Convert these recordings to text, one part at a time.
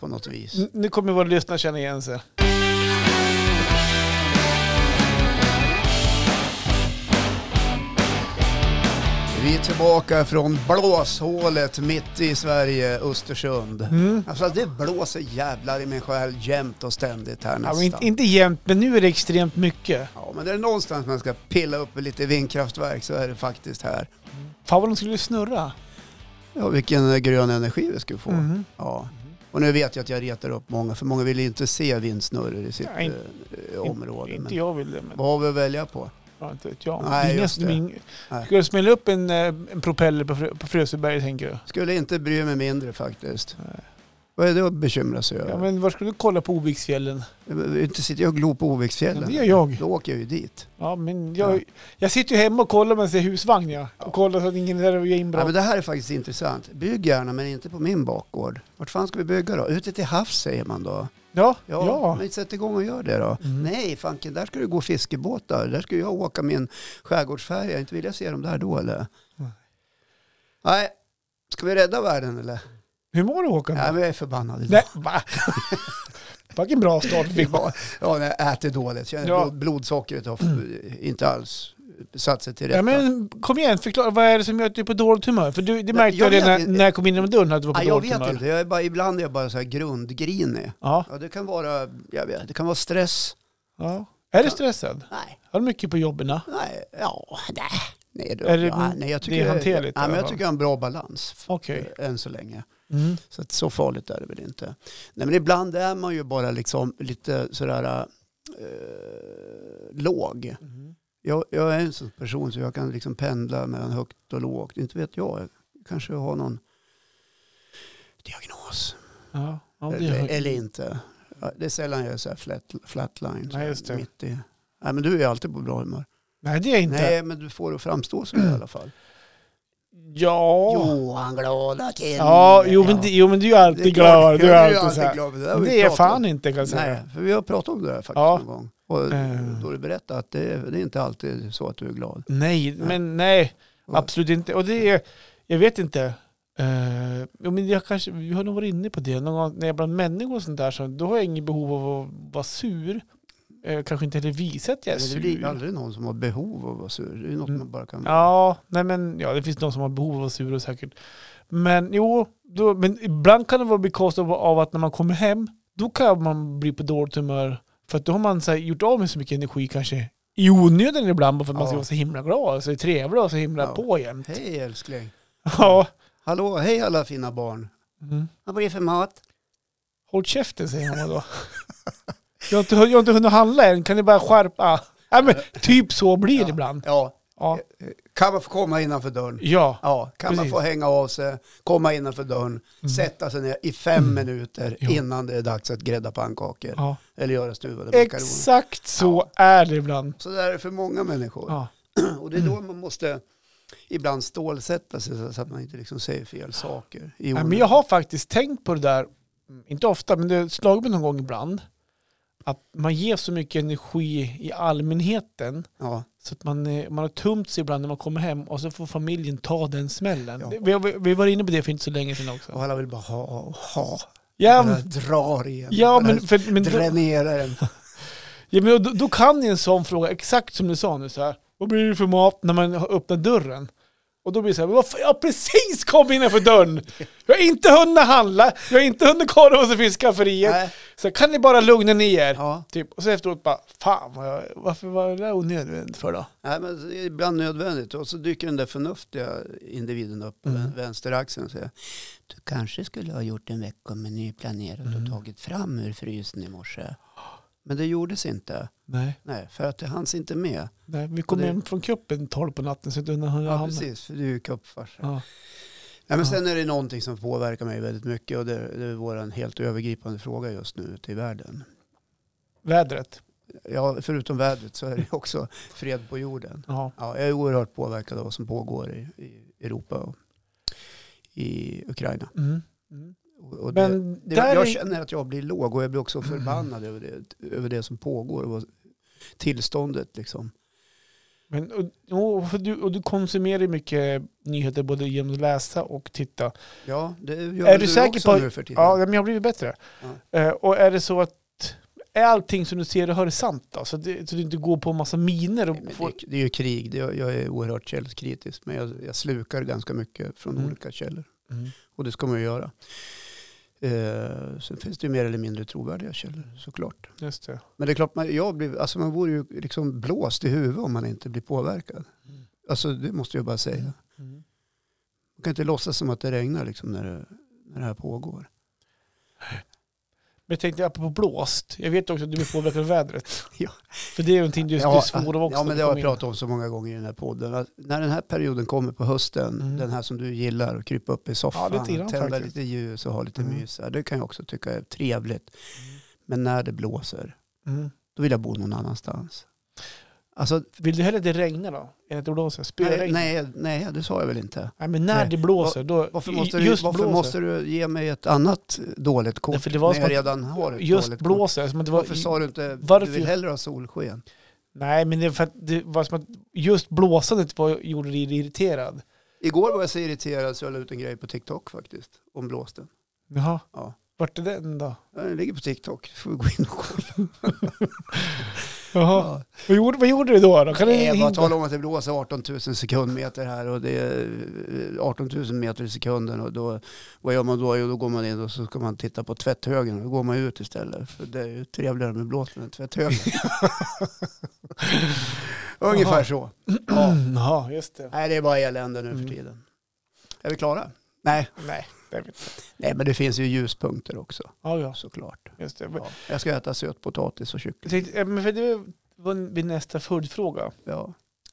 på något vis. N- Nu kommer våra lyssnare känna igen sig. Vi är tillbaka från blåshålet mitt i Sverige, Östersund. Alltså det blåser jävlar i min själ jämt och ständigt här Ja, men nästan. inte, inte jämt, men nu är det extremt mycket. Ja, men det är någonstans man ska pilla upp lite vindkraftverk så är det faktiskt här. Fan vad de skulle snurra. Ja, vilken eh, grön energi vi skulle få. Mhm. Ja. Och nu vet jag att jag retar upp många, för många vill ju inte se vindsnurror i sitt Ja, in- eh, område. Inte, inte Men jag vill det, men vad har vi att välja på? ja, inte vet jag. Nej, Det är inga- just det. det är ing- Nej. Ska du smälla upp en, eh, en propeller på, Frö- på Frösöberg tänker du? Skulle inte bry mig mindre faktiskt. Nej. Vad är det att bekymra sig Ja, över? men var ska du kolla på Oviksfjällen? Inte sitter jag och glor på Oviksfjällen. Ja, det gör jag. Då åker jag ju dit. Ja, men jag, Ja. jag sitter ju hemma och kollar medan det är husvagn ja. Och kollar så att ingen är där och gör inbrott. Ja, men det här är faktiskt intressant. Bygg gärna, men inte på min bakgård. Vart fan ska vi bygga då? Ute till havs säger man då. Ja, Ja, ja. men sätt igång och gör det då. Mm. Nej, fanken, där ska du gå fiskebåtar. Där ska jag åka min skärgårdsfärja. Inte vill jag se dem där då eller? Nej. Nej, ska vi rädda världen eller? Hur mår du Håkan? Nej, men jag är förbannad idag. Nej, va? Vilken bra start vi fick. Ja, ja, när jag äter dåligt. Känner Ja. Mm. blod, blodsockret har f- inte alls satt sig till rätta. Ja, men kom igen, förklara. Vad är det som gör att du är på dåligt humör? För du, det märkte jag jag, redan vet när, inte. när jag kom in genom dörren att du var på Nej, jag dåligt vet humör. inte. Jag är bara, ibland är jag bara så här grundgrinig. Ja, Ja, det kan vara, jag vet, det kan vara stress. ja. Är du stressad? Nej, Har du mycket på jobben? nej, ja, nej. Nej, då, Är det- ja, nej jag det tycker, är hanterligt i Nej, men alla jag fall. tycker jag har en bra balans Okej. eh, än så länge. Mm. Så att så farligt är det väl inte. Nej, men ibland är man ju bara liksom lite sådär eh, låg. Mm. Jag, jag är en sån person så jag kan liksom pendla mellan högt och lågt. Inte vet jag, jag kanske har någon diagnos. Ja, ja, det eller, gör jag. eller inte. Ja, Det är sällan jag är så här flat, flatline. så Nej, här just det. Mitt i. Nej, men du är alltid på bra humör. Nej, det är jag inte. Mm. Nej, men du får det att framstå så i alla fall. Ja. Jo. Johan glada killen. Ja, jo men, det- jo men du är Det är alltid klart. glad. Du Ja, är alltid så här. glad. Det, där har vi Det är pratat om. fan inte kan jag säga. Nej, för vi har pratat om det här faktiskt Ja. någon gång. Och Eh. då du berättade att det, är- det är inte alltid så att du är glad. Nej, Nej. men nej. Och- Absolut inte. Och det är, jag vet inte. Eh, jo, men jag kanske, vi har nog varit inne på det. Någon gång när jag är bland människor och sånt där, så, då har jag inget behov av att vara sur. Eh, kanske inte heller visa att jag är Men det blir ju sur. aldrig någon som har behov av att vara sur. Det är ju något Mm. man bara kan... Ja, nej men ja, det finns de som har behov av att vara sura säkert. Men jo, då, men ibland kan det vara bekostat av, av att när man kommer hem, då kan man bli på dåligt humör. För att då har man så här, gjort av med så mycket energi kanske i onödan ibland, bara för att man ska Ja. vara så himla glad, och så trevlig och så himla Ja. på jämt. Hej älskling. Ja. Hallå, hej alla fina barn. Mm. Vad blir det för mat? Håll käften säger han då. jag, har inte, jag har inte hunnit handla än, kan ni bara skärpa? Nej, men, typ så blir det Ja. ibland. Ja, Ja. kan man få komma innanför dörren? ja. Ja, kan man Precis. Mm. få hänga av sig, komma innanför dörren, sätta sig ner i fem minuter Ja. innan det är dags att grädda pannkakor ja. eller göra stuvade makaroner. Exakt så är det ibland. Så där är det för många människor. Ja. Mm. Och det är då man måste ibland stålsätta sig så- så att man inte liksom säger fel saker. i Nej, men onödan. jag har faktiskt tänkt på det där, mm, inte ofta, men det har slagit mig någon gång ibland, att man ger så mycket energi i allmänheten ja. så att man, eh, man har tömt sig ibland när man kommer hem och så får familjen ta den smällen. Ja. Det- Vi, vi, vi var inne på det för inte så länge sedan också. Och alla vill bara ha, ha. Ja, Bara men- drar igen. ja Bara men, för, men då- dränerar en. Ja, men då, då kan ju en sån fråga, exakt som du sa nu, så här, vad blir det för mat när man har öppnat dörren? Och då blir det så här, varför, jag har precis kom innanför dörren! Jag har inte hunnit handla, jag har inte hunnit kolla vad som finns i skafferiet. Nej. Så kan ni bara lugna ner er? Ja. Typ. Och så efteråt bara, fan vad jag, varför var det där onödvändigt för då? Nej, men det är ibland nödvändigt. Och så dyker den där förnuftiga individen upp Mm. på den vänsteraxeln och säger Du kanske skulle ha gjort en veckomeny planerat Mm. och tagit fram ur frysen i morse. Men det gjordes inte. Nej, Nej, för att det hanns inte med. Nej vi kom Det- hem från kuppen tolv på natten så jag hann. Ja, precis. För du är ju kuppfarsa. Ja. Nej, men Ja. sen är det någonting som påverkar mig väldigt mycket och det, det är vår helt övergripande fråga just nu ute i världen. Vädret. Ja, förutom vädret så är det också fred på jorden. Ja. Ja, jag är oerhört påverkad av vad som pågår i, i Europa och i Ukraina. Mm. Mm. Och, och det, Men det, där jag är- Mm. känner att jag blir låg och jag blir också förbannad över, det, över det som pågår och vad- tillståndet. Liksom. Men, och, och, för du, och du konsumerar ju mycket nyheter både genom att läsa och titta. Ja, det gör Är du, du säker också på- nu för tiden. Ja, men jag har blivit bättre. Ja. Eh, och är det så att är allting som du ser och hör är sant då? Så, att det, så du inte går på massa miner och Nej, men får... det, det är ju krig, det, jag är oerhört källkritisk. Men jag, jag slukar ganska mycket från Mm. olika källor. Mm. Och det ska man ju göra. Eh, sen finns det ju mer eller mindre trovärdiga källor såklart. Just det. Men det är klart, man, jag blir, alltså man vore ju liksom blåst i huvudet om man inte blir påverkad. Mm. Alltså det måste jag bara säga. Mm. Man kan inte låtsas som att det regnar liksom när, det, när det här pågår. Men jag tänkte apropå blåst. Jag vet också att du blir påverkad av vädret. Ja. För det är någonting du, du svor av också. ja, när men det du har jag kom in. pratat om så många gånger i den här podden. Att när den här perioden kommer på hösten, Mm. den här som du gillar, att krypa upp i soffan, Ja, lite grann tända faktiskt. lite ljus och ha lite Mm. mys. Det kan jag också tycka är trevligt. Men när det blåser, Mm. då vill jag bo någon annanstans. Alltså, Vill du hellre att det regnar då? Än att det blåser? Spöregn? nej, Nej, nej, nej, det sa jag väl inte. men när Nej. det blåser då... Varför i- måste, du, varför måste du ge mig ett annat dåligt kort Därför det var när som jag att- redan har ett Just dåligt kort? blåser. Som att det var, Varför sa du inte Varför- du vill hellre ha solsken? Nej, men det, är för att det var som att just blåsandet var, gjorde dig irriterad. Igår var jag så irriterad så jag la ut en grej på TikTok faktiskt, om blåsten. Jaha. Ja. Vart är den då? Ja, Den ligger på TikTok, får vi gå in och kolla. Jaha. Ja. Vad, gjorde, vad gjorde du då? då? Kan du Nej, Jag Eh, bara hinta? talar om att det blåser 18 000 sekundmeter här och det är eh, 18 000 meter i sekunden och då, vad gör man då? Jo, då går man in och så ska man titta på tvätthögen och då går man ut istället för det är ju trevligare med blåsten än tvätthögen. Ungefär Jaha. så. Ja. Ja. Jaha, just det. Nej, det är bara elände nu Mm. för tiden. Är vi klara? Nej. Nej, det är vi inte. Nej, men det finns ju ljuspunkter också Ja, ja, såklart. just det. Ja. Jag ska äta sötpotatis och Jag kyckling. tänkte, eh, men för det var min nästa följdfråga. Ja.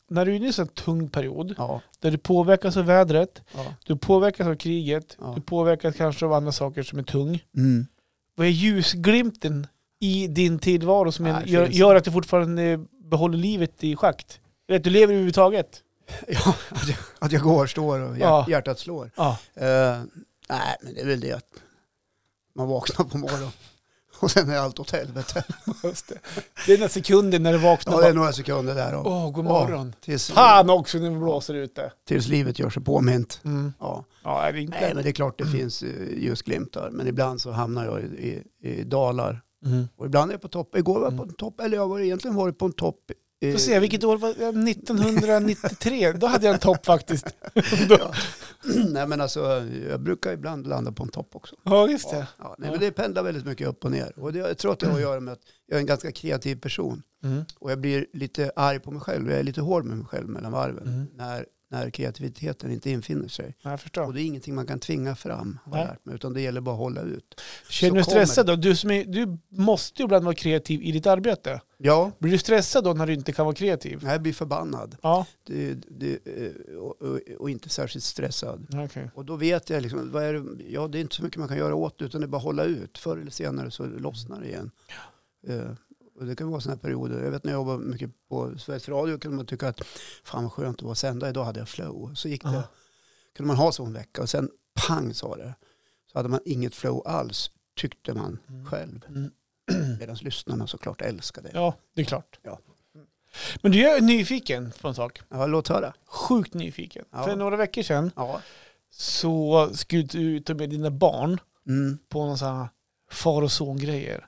När du är inne i en sån här tung period, Ja. där du påverkas av vädret, ja. du påverkas av kriget, Ja. du påverkas kanske av andra saker som är tung. Mm. Vad är ljusglimten i din tillvaro som Nej, det gör, finns gör att du fortfarande behåller livet i schakt? Eller att du lever överhuvudtaget? Ja, att jag, att jag går, står och hjär, Ja. hjärtat slår. Ja. Eh, nej, men det är väl det att man vaknar på morgonen och sen är allt åt helvete. Just det. det är den där sekunden när du vaknar. Ja, och det bara, är några sekunder där och, Åh, god morgon. tills, Fan också när det blåser ute. tills livet gör sig påmint. Mm. Ja. Ja, är det inte? Nej, men det är klart det finns eh, ljusglimtar, men ibland så hamnar jag i, i, i dalar. Mm. Och ibland är jag på topp. Igår var jag på Mm. en topp, eller jag var egentligen varit på en topp. eh, Får se, vilket år var det? 1993, då hade jag en topp faktiskt. Då- Nej, men alltså, jag brukar ibland landa på en topp också. ja, just Ja, det. ja, nej, Ja. men det pendlar väldigt mycket upp och ner. Och det, jag tror att det har att göra med att jag är en ganska kreativ person. Mm. Och jag blir lite arg på mig själv. Jag är lite hård med mig själv mellan varven. Mm. När, när kreativiteten inte infinner sig. Ja, Jag förstår. Och det är ingenting man kan tvinga fram, har Nej. jag lärt mig. Utan det gäller bara att hålla ut. Känner så du kommer stressad då? Du, som är, du måste ju ibland vara kreativ i ditt arbete. Ja, Blir du stressad då när du inte kan vara kreativ? jag blir förbannad. Ja, Det, det, eh, och, och, och inte särskilt stressad. okej. Och då vet jag, liksom, vad är det, ja, det är inte så mycket man kan göra åt det, utan det är bara att hålla ut. Förr eller senare så lossnar det igen. Eh, och det kan vara sådana här perioder. Jag vet när jag jobbade mycket på Sveriges Radio kunde man tycka att fan vad skönt att vara sända, idag hade jag flow. Så gick det. Aha. Kunde man ha så en vecka och sen pang sa det. Så hade man inget flow alls, tyckte man Mm. själv. Mm. Medan lyssnarna såklart älskade det. Ja, det är klart. Ja. Men du, jag är nyfiken på en sak. Ja, låt höra. Sjukt nyfiken. Ja. För några veckor sedan Ja. så skulle du ut med dina barn Mm. på någon sån här far och son-grejer.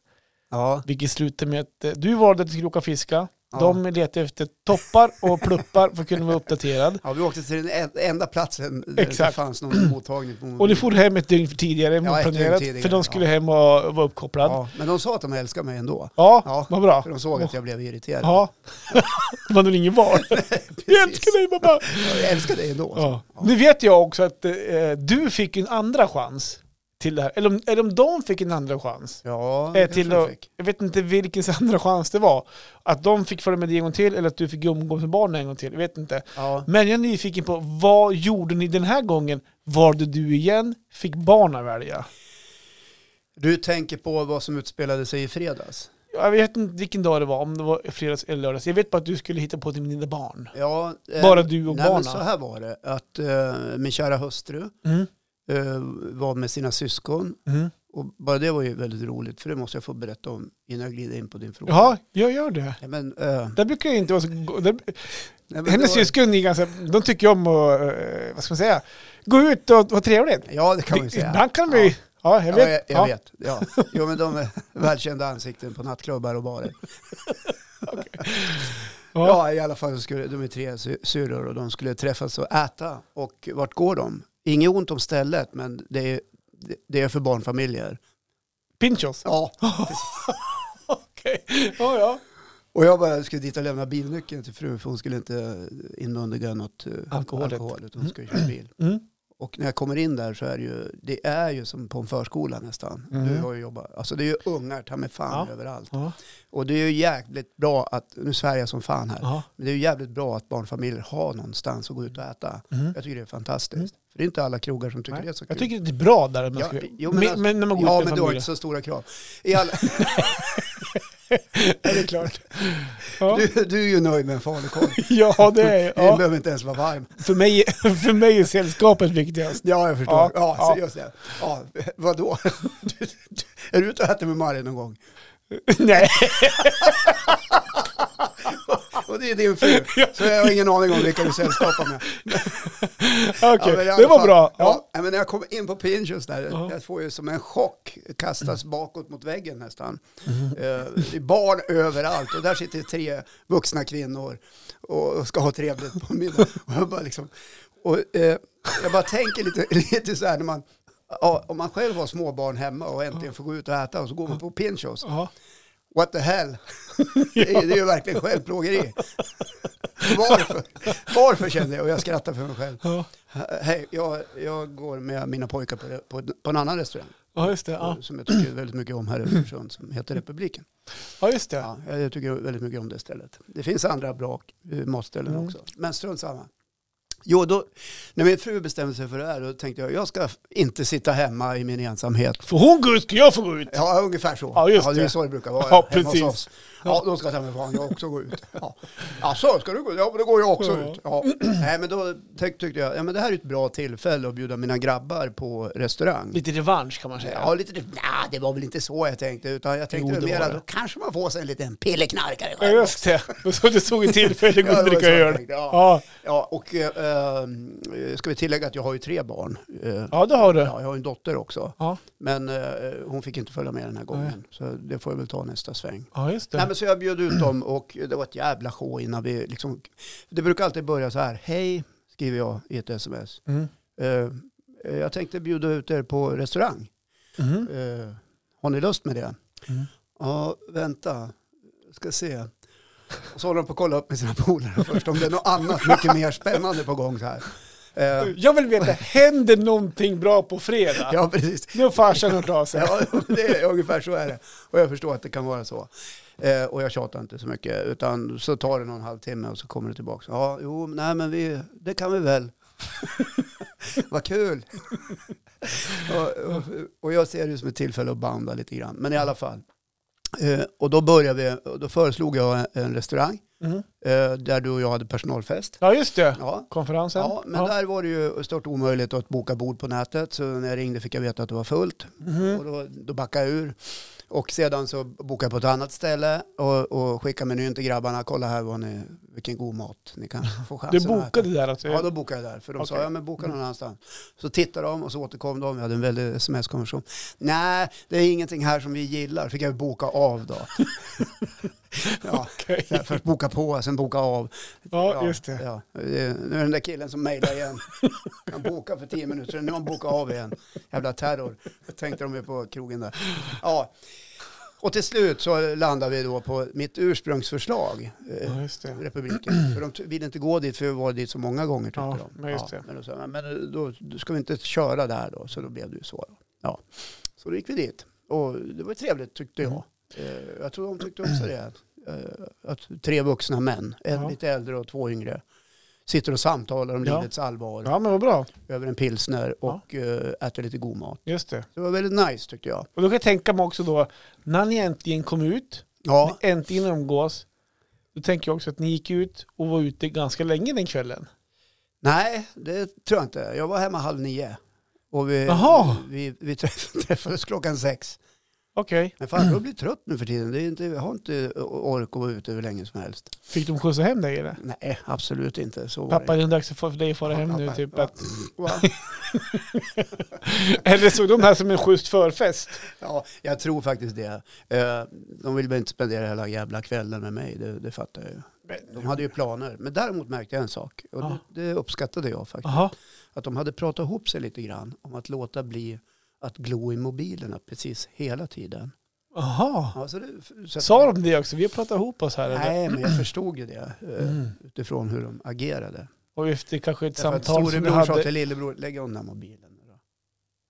Ja. Vilket slutade med att eh, du valde att du skulle åka och fiska. Ja. De letade efter toppar och pluppar för att kunna vara uppdaterad. ja, vi åkte till den en- enda platsen där det Exakt. fanns någon mottagning. På Och du for hem ett dygn för tidigare än Ja, ett dygn planerat. tidigare, för de skulle hem och vara uppkopplad. Ja, Ja, men de sa att de älskade mig ändå. Ja. vad bra. För de såg att jag blev irriterad. Ja. det var nog ingen val. Jag älskar dig mamma. Jag älskar dig ändå. Ja. Nu vet jag också att eh, du fick en andra chans till det här. Eller om, eller om de fick en andra chans. Ja, Eh, det kanske till jag att- fick. Jag vet inte vilken andra chans det var. Att de fick följa med dig en gång till eller att du fick umgås med barnen en gång till. Jag vet inte. Ja. Men jag är nyfiken på, vad gjorde ni den här gången? Valde du igen? Fick barnen välja? Du tänker på vad som utspelade sig i fredags. Jag vet inte vilken dag det var, om det var fredags eller lördags. Jag vet bara att du skulle hitta på till mina barn. Ja, eh, Bara du och nej, men barnen. Så här var det, att eh, min kära hustru Mm. eh, var med sina syskon. Mm. Och bara det var ju väldigt roligt, för det måste jag få berätta om innan jag glider in på din fråga. Ja, jag gör det. Nej, men, eh, Där brukar jag inte vara så... go- Där, nej, men hennes det var- syskon är ganska... De tycker om att... eh, Vad ska man säga? Gå ut och ha trevligt. Ja, det kan man ju Det- säga. Ibland kan de ju... Ja, jag Ja, jag, vet. jag Ja. vet. Ja. Jo, men de är välkända ansikten på nattklubbar och barer. Ja. Ja, i alla fall så skulle de är tre sy- syrror och de skulle träffas och äta. Och vart går de? Inget ont om stället, men det är, det- det är för barnfamiljer. Pinchos. Ja, Okej. Ja, ja. och jag bara skulle dit och lämna bilnyckeln till frun för hon skulle inte inmundiga något eh, Alkoholet. alkohol utan hon skulle köra bil. Mm. Och när jag kommer in där så är det ju, det är ju som på en förskola nästan. Mm. Du har ju jobbat, alltså det är ju ungar ta mig fan Ja. överallt. Ja. Och det är ju jäkligt bra att, nu svär jag som fan här, Ja. men det är ju jävligt bra att barnfamiljer har någonstans att gå ut och äta. Mm. Jag tycker det är fantastiskt. För det är inte alla krogar som tycker Nej. det är så kul. Jag tycker det är bra där. Man Ja, ska, jo, men men, alltså- men när man går ja, ut men med du har familjen. inte så stora krav. I alla, Ja, det är klart. Ja, du, du är ju nöjd med en falukorv. ja det är Den ja. behöver inte ens vara varm. för, mig, för mig är sällskapet viktigast. Ja, jag förstår. Ja, Ja, ja. seriöst. Ja. Ja, vadå? Du, du, är du ute och äter med Marin någon gång? Nej, Och det är din fru. Så jag har ingen aning om vilka du sällskapar med. okej. Ja, men i alla det var fall- bra. Ja. Ja. men när jag kom in på Pinchos där, Ja. Mm. jag får ju som en chock kastas bakåt mot väggen nästan. Eh, det är barn överallt och där sitter tre vuxna kvinnor och och ska ha trevligt på middag. Och jag bara liksom, och, eh, jag bara tänker lite, lite så här när man, ja, om man själv har småbarn hemma och äntligen får gå ut och äta och så går man på Pinchos. Ja. What the hell? Det är, det är ju verkligen självplågeri. Varför? Varför kände jag? Och jag skrattar för mig själv. Ja. He- Hej, jag, jag går med mina pojkar på, på, på en annan restaurang ja, just det. Ja. som jag tycker väldigt mycket om här i Östersund som heter Republiken. ja, just det. Ja, jag tycker väldigt mycket om det stället. Det finns andra bra eh, matställen Mm. också, men strunt samma. Jo, då, när min fru bestämde sig för det här då tänkte jag jag ska inte sitta hemma i min ensamhet. Får hon gå ut ska jag få gå ut. Ja, ungefär så. Ja, just det är det. ju så det brukar vara Ja, hemma hos precis. oss. Ja, då ska jag ta mig fan jag också gå ut. Ja. Alltså, ska du gå? Ja, men då går jag också Ja. ut. Ja. Nej, men då tyck, tyckte jag, ja men det här är ett bra tillfälle att bjuda mina grabbar på restaurang. Lite revansch kan man säga. Ja, lite, nej, det var väl inte så jag tänkte, utan jag tänkte Jo, det väl mer var att det. då kanske man får sig en liten pilleknarkare Ja, själv. just det. Men Så du såg ett tillfälle att gå Ja, och det var dricka så jag öl. tänkte, ja. Ja. Ja, och eh, eh, ska vi tillägga att jag har ju tre barn. Eh, ja, det har du. Ja, jag har en dotter också, Ja, men eh, hon fick inte följa med den här gången, Nej. så det får jag väl ta nästa sväng. ja just Nej, det. men så jag bjöd ut dem och det var ett jävla show innan vi liksom... Det brukar alltid börja så här. Hej, skriver jag i ett sms. Mm. Eh, eh, jag tänkte bjuda ut er på restaurang. Mm. Eh, har ni lust med det? Mm. Ja, vänta. Ska se. Och så håller de på att kolla upp med sina polare först om det är något annat mycket mer spännande på gång så här. Eh, Jag vill veta, händer någonting bra på fredag? ja, precis. Nu har farsan hört av sig. Ja, det är, ungefär så är det. Och jag förstår att det kan vara så. Eh, och jag tjatar inte så mycket, utan så tar det någon halvtimme och så kommer det tillbaka. Ja, jo, nej men vi, det kan vi väl. Vad kul! och, och, och jag ser det som ett tillfälle att banda lite grann, men i alla fall. Eh, och då började vi, och då föreslog jag en, en restaurang Mm. eh, där du och jag hade personalfest. Ja, just det. Ja, Konferensen. ja men där var det ju stört omöjligt att boka bord på nätet, så när jag ringde fick jag veta att det var fullt. Mhm. Och då, då backade jag ur. Och sedan så bokade jag på ett annat ställe och, och skickade menyn till grabbarna. Kolla här vad ni, vilken god mat ni kan få chansen Du att äta. bokade där alltså? Ja, då bokade jag där. För de sa, Okej. Mm. ja men boka någon annanstans. Så tittade de och så återkom de. Vi hade en väldig sms-konversation. Nej, det är ingenting här som vi gillar. Fick jag boka av då. ja, Okej. så här, först boka på, sen boka av. Ja, just det. Ja. Eh, Nu är den där killen som mejlar igen. Han bokar för tio minuter sedan. Nu har han bokat av igen. Jävla terror. Tänkte de ju på krogen där. Ja. Och till slut så landade vi då på mitt ursprungsförslag. eh, Ja, just det. Republiken. För de t- ville inte gå dit för vi var dit så många gånger tyckte Ja, de. men just det. men då sa jag, men då då ska vi inte köra där då. Så då blev det ju så. Då. Ja. Så då gick vi dit. Och det var trevligt tyckte jag. Mm. Eh, Jag tror de tyckte också det. Eh, Att tre vuxna män, en Ja. lite äldre och två yngre, sitter och samtalar om Ja. livets allvar Ja, men vad bra. över en pilsner och eh, äter lite god mat. Just det. Det var väldigt nice tyckte jag. Och då kan jag tänka mig också då, när ni äntligen kom ut, Ja, ni äntligen umgås, då tänker jag också att ni gick ut och var ute ganska länge den kvällen. nej, det tror jag inte. Jag var hemma halv nio. Och vi, Jaha. vi, vi träff- träffades klockan sex. Okej. Men farbror blir trött nu för tiden. Det är inte, jag har inte ork att vara ute hur länge som helst. Fick de skjutsa hem dig eller? Nej, absolut inte. Så var Pappa, det är dags för för dig att fara Ja, hem nu. pappa, Typ. ja. Att, det. Va? eller såg de här som en schysst förfest? Ja, jag tror faktiskt det. Eh, De ville väl inte spendera hela jävla kvällen med mig, det, det fattar jag ju. De hade ju planer. Men däremot märkte jag en sak, och Ja. det, det uppskattade jag faktiskt. Jaha. Att de hade pratat ihop sig lite grann om att låta bli att glo i mobilerna precis hela tiden. Jaha. Ja, så det, så att- Sa de det också? Vi har pratat ihop oss här. Eller? Nej, men jag förstod ju det eh, Mm. utifrån hur de agerade. Och efter kanske ett Därför att samtal som du Storebror sa hade. till lillebror, lägg undan mobilen. nu då."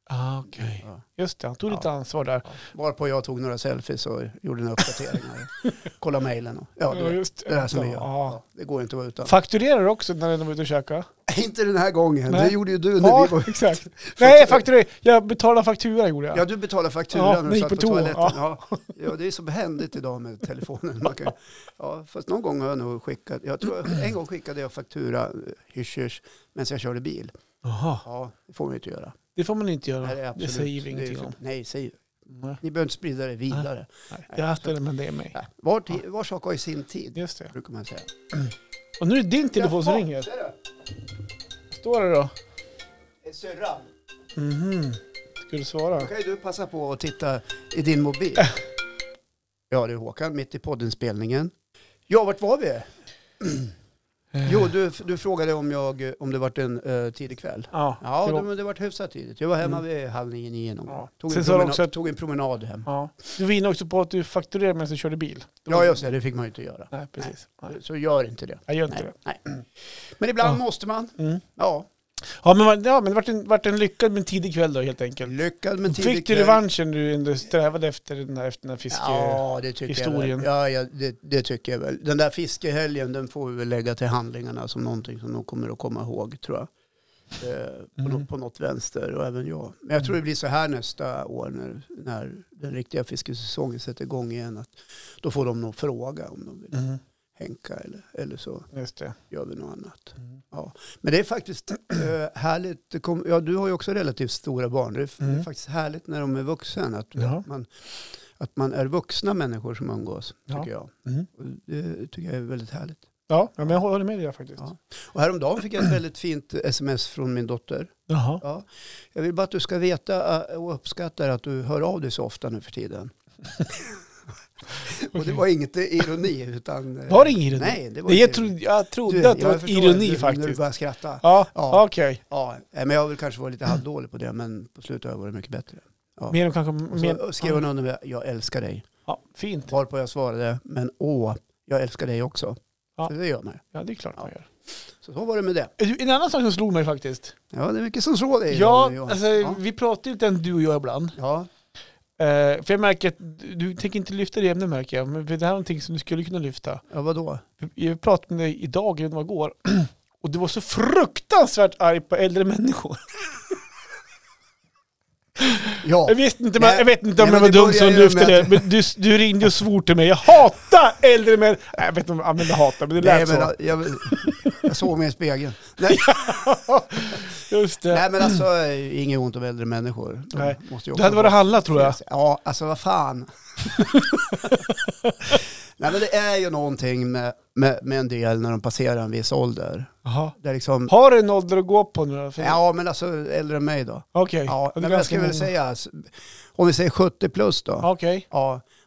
Ah, okej. Ja. Just det, han tog lite Mm. Ja. ansvar där. Varpå jag tog några selfies och gjorde några uppdateringar. Kollade mejlen och ja, du vet. just Det där som vi gör. Ja. Ja, det går inte att vara utan. Fakturerar du också när de var ute och käkade? Inte den här gången. Nej. Det gjorde ju du när vi Ja, var... exakt. Nej, fakturerar. Jag betalar faktura gjorde jag. Ja, du betalade fakturan Ja, när ni du gick satt på på, toa, toaletten. Ja. Ja, det är så behändigt idag med telefonen. Man kan, ja, fast någon gång har jag nog skickat... Jag tror, en gång skickade jag faktura, eh, hysch, hysch, medan jag körde bil. Jaha. Ja, det får man ju inte göra. Det får man inte göra. Nej, det, är det, absolut, säger det vi är ingenting för- om. Nej, säg, Nej. ni behöver inte sprida det vidare. Jag ställer men det är mig. Nej. Var, ti- var sak har ju sin tid, Just det. brukar man säga. Och nu är det din telefon som Jaha, ringer. ser du? Står det då? Det är Syrran. Mhm. Ska du svara? Då kan ju du passa på att titta i din mobil. Ja, det är Håkan, mitt i poddinspelningen. Ja, vart var vi? Jo, du, du frågade om, jag, om det vart en eh, tidig kväll. Ja. Ja, det var- det, men det vart hyfsat tidigt. Jag var hemma vid halv nio, nio någon gång. ja. Tog, en Sen sa du promena- också att tog en promenad hem. ja. du var inne också på att du fakturerade medan du körde bil. Det var- Ja, just det. Det fick man ju inte göra. Nej, precis. Nej. Så gör inte det. Jag gör inte Nej, nej. Men ibland måste man. det. Mm. Ja, Ja, men, vad- ja, men det vart en, vart en lyckad men tidig kväll då helt enkelt. lyckad men tidig Fick du kväll. revanschen du ändå strävade efter den där, efter den där fiske... Ja, det tycker historien. jag väl. Ja, ja det, det tycker jag väl. Den där fiskehelgen, den får vi väl lägga till handlingarna som någonting som de kommer att komma ihåg, tror jag. Eh, på, Mm. nå- på något vänster, och även jag. Men jag tror det blir så här nästa år när, när den riktiga fiskesäsongen sätter igång igen. Att då får de nog fråga om de vill Mm. hänka eller, eller så Just det. gör vi något annat. Mm. Men det är faktiskt eh, härligt. Det kom, ja, du har ju också relativt stora barn. Det är, f- det Mm. är faktiskt härligt när de är vuxna. Att, Ja. att, man, att man är vuxna människor som umgås, Ja. tycker jag. Mm. Och Det tycker jag är väldigt härligt. Ja, ja, men jag håller med dig där faktiskt. Ja. Och häromdagen fick jag ett väldigt fint sms från min dotter. Jaha. Ja. Jag vill bara att du ska veta eh, och uppskattar att du hör av dig så ofta nu för tiden. Och det var inte ironi utan... eh, Var det ingen ironi? Nej, det var Nej, jag inte trodde, jag trodde Du, att det jag var förstår ironi nu När du faktiskt. börjar skratta. Ja, Ja. okej. Ja, eh, men jag har väl kanske varit lite halvdålig på det, men på slutet har jag varit mycket bättre. Ja. Mer och kanske... Och Mer, så skrev hon under med jag älskar dig. ja, fint. Varpå jag svarade, men åh, jag älskar dig också. Ja. Så det gör man ju. Ja, det är klart man gör. Så så var det med det. Du, En annan sak som slog mig faktiskt. Ja, det är mycket som slår dig. Johnny Ja, Johansson. alltså, ja. vi pratar ju inte än du och jag ibland. ja. Eh, för jag märker att du, du tänker inte lyfta det ämnet märker jag. Men för det här är någonting som du skulle kunna lyfta. ja vadå? Jag pratade med dig idag, eller det var igår. Och du var så fruktansvärt arg på äldre människor. Ja, Jag, visste inte, men, Nej, jag vet inte om nej, men jag var det dum som börjar ju lyfte med det, men du, du ringde och svor till mig. Jag hatar äldre människor. Nej, Jag vet inte om jag använde hata, men det nej, lät men, så. jag, jag, jag såg mig i spegeln. Nej, Just det. nej men alltså, eh, inget ont om äldre människor. De Nej. Måste ju du hade också varit handla tror jag. Ja, alltså vad fan. Nej men det är ju någonting med, med, med en del när de passerar en viss ålder. Jaha. Det är liksom, Har du en ålder att gå på nu då? För- ja men alltså äldre än mig då. Okej. Ja, Det är men jag ganska skulle många. väl säga, s- om vi säger 70 plus då. Ja. Okej.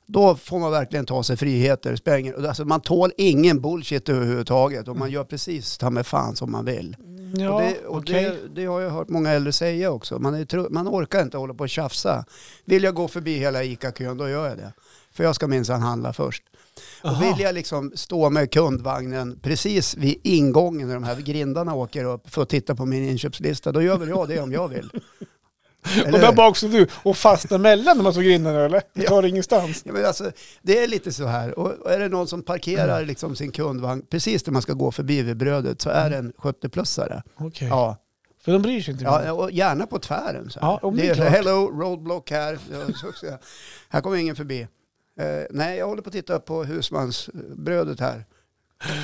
då får man verkligen ta sig friheter. spelar ingen- Alltså man tål ingen bullshit överhuvudtaget Mm. och man gör precis ta med fan som man vill. och Ja, det, och okej. det, det har jag hört många äldre säga också. Man, är, tro- man orkar inte hålla på och tjafsa. Vill jag gå förbi hela ICA-kön, då gör jag det. För jag ska minsann handla först. Och Jaha. vill jag liksom stå med kundvagnen precis vid ingången när de här grindarna åker upp för att titta på min inköpslista, då gör väl jag det om jag vill. Och Eller där hur? bak stod du och fastnade mellan de här två grindarna eller? Du Ja. tar det ingenstans? Ja, men alltså, det är lite så här, och och är det någon som parkerar Mm. liksom sin kundvagn precis där man ska gå förbi vid brödet så är det en 70-plussare. Okej. Ja. För de bryr sig inte. Ja, och gärna på tvären. Så här. Ja, om det det är är klart. hello, roadblock här. Ja, så- så- här kommer ingen förbi. Eh, nej, jag håller på att titta på husmansbrödet här.